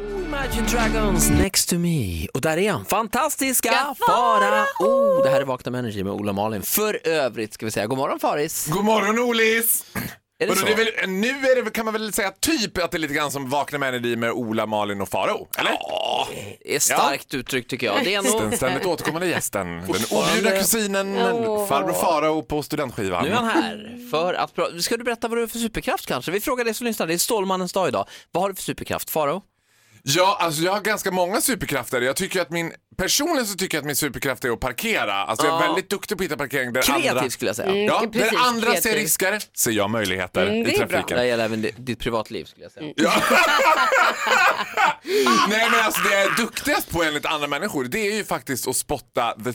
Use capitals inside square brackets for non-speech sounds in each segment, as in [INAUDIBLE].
Imagine Dragons next to me. Och där är han, fantastiska Farao. Det här är Vakna med Energy med Ola och Malin. För övrigt ska vi säga god morgon Faris. God morgon Olis! Är det Vadå, så? det är väl, nu är det, väl- kan man väl säga typ att det är lite grann som Vakna med energi med Ola, Malin och Faro Eller? Ja, är starkt uttryck tycker jag. Det är den nog... ständigt återkommande gästen. Den Fortfarande. objudna kusinen, farbror Farao på studentskivan. Nu är han här för att... pra- Ska du berätta vad du har för superkraft kanske? Vi frågar dig som lyssnar, det är Stålmannens dag idag. Vad har du för superkraft? Farao? Ja, alltså jag har ganska många superkrafter. Jag tycker att min, personligen så tycker jag att min superkraft är att parkera. Alltså jag är Ja. väldigt duktig på att hitta parkering där andra... Kreativ skulle jag säga. Ja, Mm, precis, där andra ser kreativ. risker ser jag möjligheter Mm, det i är bra. trafiken. Det gäller även di- ditt privatliv skulle jag säga. Ja. Nej men alltså det jag är duktigast på enligt andra människor det är ju faktiskt att spotta the,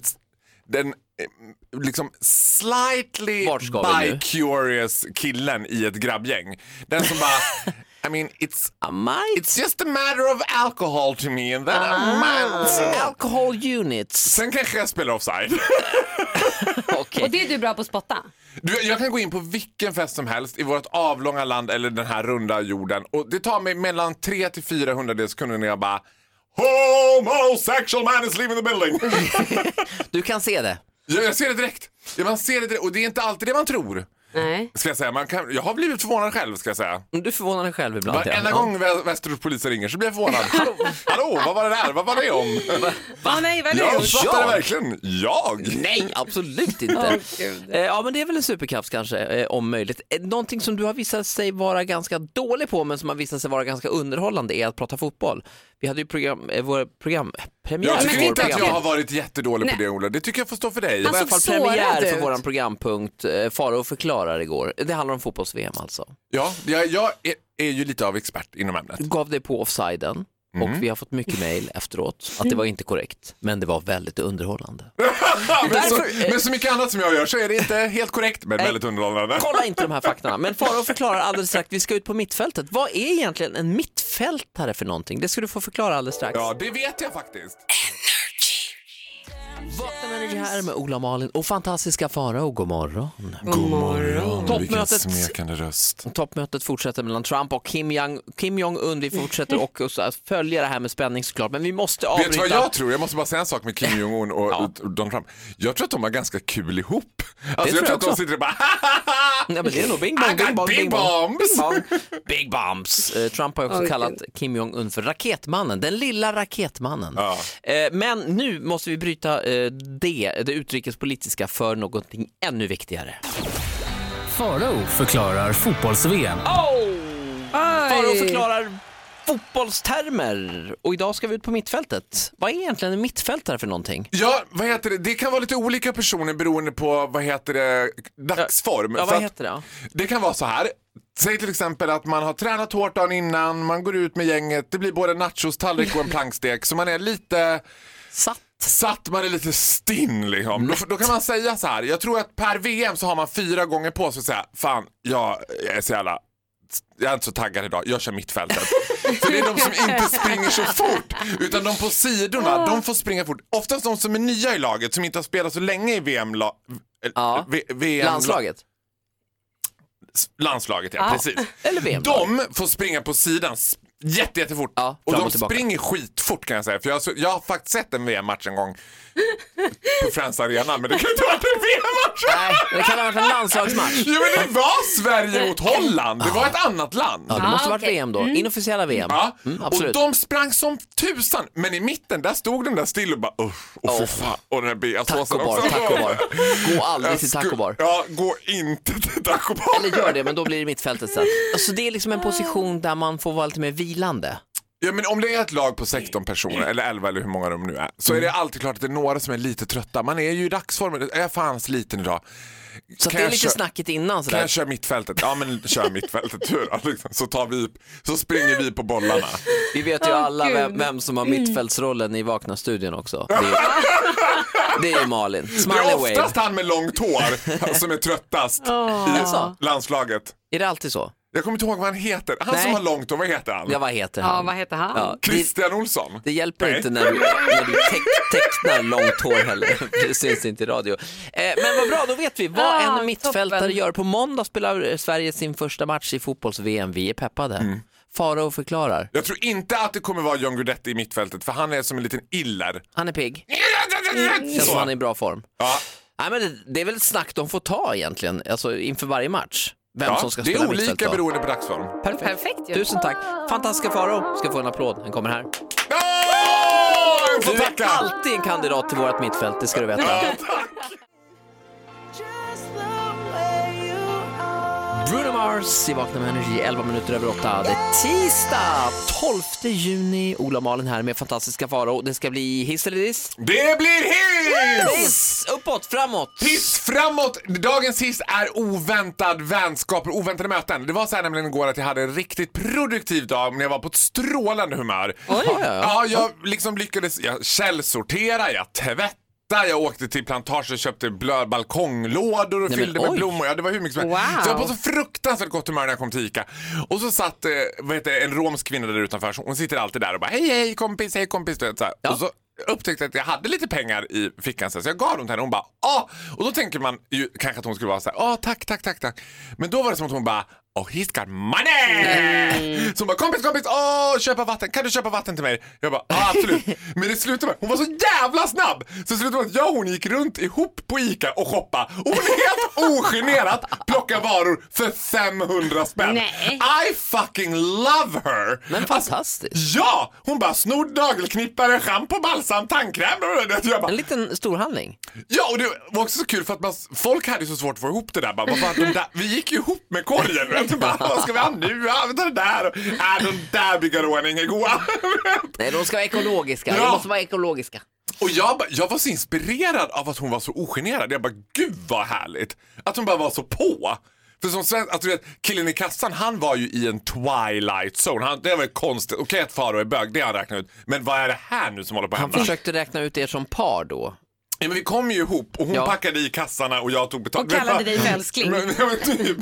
den eh, liksom slightly Vart ska vi nu? bi-curious killen i ett grabbgäng. Den som [LAUGHS] bara, I mean it's, Might it's just a matter of alcohol to me and then I might. alcohol [LAUGHS] units. Sen kanske jag spelar offside. Okej. Och det är du bra på att spotta? Du, jag kan gå in på vilken fest som helst i vårt avlånga land eller den här runda jorden och det tar mig mellan 3 till 4 hundradels sekunder när jag bara Homosexual man is leaving the building. Du kan se det. jag, jag ser det direkt. Ja, man ser det direkt och det är inte alltid det man tror. Nej. Ska jag säga. Man kan, jag har blivit förvånad själv ska jag säga. Du förvånar dig själv ibland. ja. Varenda Ja. gång vä- Västeråspolisen ringer så blir jag förvånad. Hallå, Hallå, vad var det där? Vad var det om? Åh nej, vad Jag fattar Jag? det verkligen. Jag? Nej, absolut inte. [LAUGHS] Åh, gud. eh, ja, men det är väl en superkraft kanske, eh, om möjligt. Eh, någonting som du har visat sig vara ganska dålig på, men som har visat sig vara ganska underhållande, är att prata fotboll. Vi hade ju program, eh, vår program, premiär Jag för tycker vår inte att jag programpunkt. har varit jättedålig på Nej. det Ola. Det tycker jag får stå för dig. Det var i alla fall såg sårad premiär för ut. vår programpunkt eh, Farao förklarar igår. Det handlar om fotbolls-VM alltså. Ja, jag, jag är, är ju lite av expert inom ämnet. Du gav dig på offsiden och vi har fått mycket mejl efteråt att det var inte korrekt, men det var väldigt underhållande. men, så, Därför- men så mycket annat som jag gör så är det inte helt korrekt men väldigt underhållande. Kolla inte de här faktorna. Men Farao förklarar alldeles strax, vi ska ut på mittfältet. Vad är egentligen en mittfältare för någonting? Det ska du få förklara alldeles strax. Ja, det vet jag faktiskt. Vakna med Energy här med Ola och Malin och fantastiska Farao, god morgon. God morgon. Toppmötet. röst. Toppmötet fortsätter mellan Trump och Kim, Jong- Kim Jong-Un. Vi [LAUGHS] fortsätter också att följa det här med spänning såklart, men vi måste avbryta. Vet du vad jag tror? Jag måste bara säga en sak [LAUGHS] med Kim Jong-Un och och Donald Trump. Jag tror att de har ganska kul ihop. Alltså, tror jag tror jag att de också. sitter och bara "Hahaha, Nej, men det är nog bing bong, I got bing bong, big bing bong. bombs. Bing bong. Big bombs. Eh, Trump har ju också Oj, kallat Kim Jong-Un för raketmannen, den lilla raketmannen. Ja. Eh, men nu måste vi bryta eh, det, det utrikespolitiska för någonting ännu viktigare. Farao förklarar fotbolls-VM. Farao Oj. förklarar fotbollstermer och idag ska vi ut på mittfältet. Vad är egentligen en mittfältare för någonting? Ja, vad heter det? Det kan vara lite olika personer beroende på vad heter det, dagsform. Ja, För vad att- heter det? Det kan vara så här. Säg till exempel att man har tränat hårt dagen innan, man går ut med gänget, det blir både nachostallrik och en plankstek. Så man är lite Satt. satt, man är lite stinn liksom. Då, då kan man säga så här. Jag tror att per VM så har man fyra gånger på sig att säga, fan jag är så jävla jag är inte så taggad idag, jag kör mittfältet. För det är de som inte springer så fort, utan de på sidorna, de får springa fort. Oftast de som är nya i laget, som inte har spelat så länge i VM... la- eh, Ja. V- VM Landslaget? Landslaget, ja, Ja. precis. Eller VM? De får springa på sidan s- jätte, jättefort. Ja, och fram de och tillbaka. springer skitfort kan jag säga. För jag, har så- jag har faktiskt sett en VM-match [LAUGHS] en gång på Friends Arena, men det kan inte ha varit en VM-match! Nej, det kan ha varit en landslagsmatch. Jo men det var Sverige mot Holland, det var ett annat land. Ja, det måste ha varit okej. VM då, inofficiella VM. Ja, Mm, och absolut. de sprang som tusan, men i mitten där stod den där still och bara usch, och fy fan, och den där beasåsen Tacobar, tacobar. Gå aldrig till Jag skulle- tacobar. Ja, gå inte till tacobar. Eller gör det, men då blir det mittfältet sen. Så det är liksom en position där man får vara lite mer vilande. Ja, men om det är ett lag på 16 personer, eller 11 eller hur många de nu är, så är det Mm. alltid klart att det är några som är lite trötta. Man är ju i dagsformen. Är jag fan sliten idag? Så att Kan det är jag lite köra- snacket innan Kan sådär. jag köra mittfältet? Ja, men kör mittfältet. Hur då? Liksom. Så, tar vi, så springer vi [LAUGHS] på bollarna. Vi vet ju Åh, alla vem, Gud. Mm. vem som har mittfältsrollen i Vakna-studion också. Det är, [LAUGHS] det är ju Malin. Det är Smiley wave. oftast han med långt hår som är tröttast Alltså. i landslaget. Är det alltid så? Jag kommer inte ihåg vad han heter. Han Nej. som har långt hår, vad heter han? Ja, vad heter han? Ja, vad heter han? Ja, det, Christian Olsson? det hjälper Nej. inte när du, när du teck- tecknar långt hår heller. [LAUGHS] Det syns inte i radio. Eh, men vad bra, då vet vi vad Ah, en mittfältare toppen. Mm. gör. På måndag spelar Sverige sin första match i fotbolls-VM. Vi är peppade. Farao förklarar. Jag tror inte att det kommer vara John Guidetti i mittfältet för han är som en liten iller. Han är pigg. Känns som Mm. han är Så. i bra form. Ja, Nej, men det, det är väl snack de får ta egentligen, alltså inför varje match. Vem ja, som ska det spela är mittfält olika då. beroende på dagsform. Perfekt. Perfekt ju. Tusen tack. Fantastiska Farao ska få en applåd. Han kommer här. Åh, jag får Du är tacka! alltid en kandidat till vårt mittfält, det ska du veta. Ja, tack. Bruno Mars i Vakna med Energy, 11 minuter över 8. Det är tisdag 12 juni. Ola och Malin här med fantastiska Farao. Det ska bli hiss eller diss? Det blir hiss! Hiss! Uppåt, framåt. Hiss framåt! Dagens hiss är oväntad vänskap och oväntade möten. Det var så här nämligen igår att jag hade en riktigt produktiv dag men jag var på ett strålande humör. Ja, ja, ja. Ja, jag liksom lyckades. Jag källsortera, jag tvättade, jag åkte till plantager och köpte blöd balkonglådor Nej, och men fyllde med oj. blommor. Ja, det var hur mycket som helst. Wow. Så jag var på så fruktansvärt gott humör när jag kom till ICA. Och så satt eh, vad heter, det, en romsk kvinna där utanför. Så Hon sitter alltid där och bara hej, hej kompis, hej kompis. Du vet, så här. Ja. Och så upptäckte jag att jag hade lite pengar i fickan så här, så jag gav dem till henne. Hon bara ah! Och då tänker man ju kanske att hon skulle vara så här ah tack, tack, tack, tack. Men då var det som att hon bara Oh, he's got money! Så hon bara, kompis, kompis, åh, köpa vatten, kan du köpa vatten till mig? Jag bara, ah, absolut. Men det slutade med, hon var så jävla snabb! Så det slutade med att jag och hon gick runt ihop på ICA och shoppa och hon helt ogenerat plockade varor för 500 spänn. Nej. I fucking love her! Alltså, Men fantastiskt. Ja! Hon bara snor nagelknippare, schampo, balsam, tandkräm. Jag bara, En liten storhandling. ja, och det var också så kul för att man, folk hade ju så svårt att få ihop det där. Bara, vad fan, de där vi gick ju ihop med korgen. Vet du? Bara, vad ska vi ha nu? Ja, vi tar det där. Och, äh, de där bigarråerna är inga goa. Nej, de ska vara ekologiska. Ja. De måste vara ekologiska. och jag, bara- jag var så inspirerad av att hon var så ogenerad. Jag bara, gud vad härligt. Att hon bara var så på. För som svensk, alltså, du vet, killen i kassan han var ju i en twilight zone. Han, det var ju konstigt. Okej att Faro är bög, det har han räknat ut. Men vad är det här nu som håller på att Han hända? försökte räkna ut er som par då. Ja, men vi kom ju ihop och hon Ja. packade i kassarna och jag tog betalt. Och [LAUGHS] kallade Men- dig för älskling. Men, ja, men typ,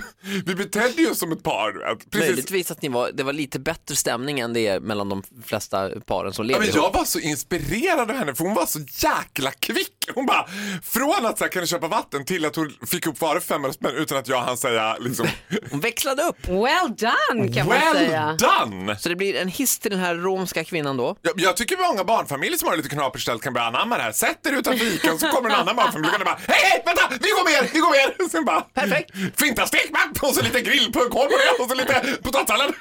vi betedde ju oss som ett par. du vet. Precis. Möjligtvis att ni var, det var lite bättre stämning än det är mellan de flesta paren som Ja, lever men ihop. jag var så inspirerad av henne för hon var så jäkla kvick. Hon bara, från att så här, kan du köpa vatten till att hon fick upp varor för 500 spänn utan att jag hann säga liksom, Hon växlade upp. Well done kan man well säga. done. Så det blir en hiss till den här romska kvinnan då. Jag, jag tycker många barnfamiljer som har det lite knapert ställt kan börja anamma det här. Sätt er utanför ICA och så kommer en annan barnfamilj och bara Hej, hej, vänta! Vi går med er! Vi går med er! Sen bara "Mm, Perfekt. Finta stekmapp och så lite grillpuck på det och så lite potatissallad.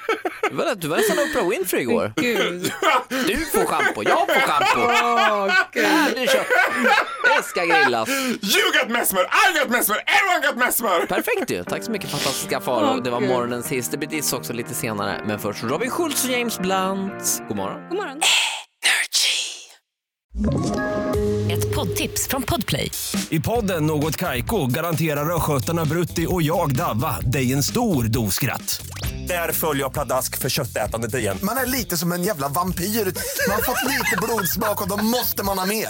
Du var, du var nästan Oprah Winfrey igår. Gud. Du får schampo, jag får schampo. Här, du Äh, kör. Det ska grillas. [LAUGHS] You got mesmer, I got mesmer, everyone got mesmer! Perfekt ju. Tack så mycket fantastiska Farao. Åh, Det var Gud. morgonens hiss. Det blir diss också lite senare. Men först Robin Schultz och James Blunt. God morgon. God morgon. Ett poddtips från Podplay. I podden Något Kaiko garanterar östgötarna Brutti och jag, Davva, dig en stor dos skratt. Där följer jag pladask för köttätandet igen. Man är lite som en jävla vampyr. Man har fått lite blodsmak och då måste man ha mer.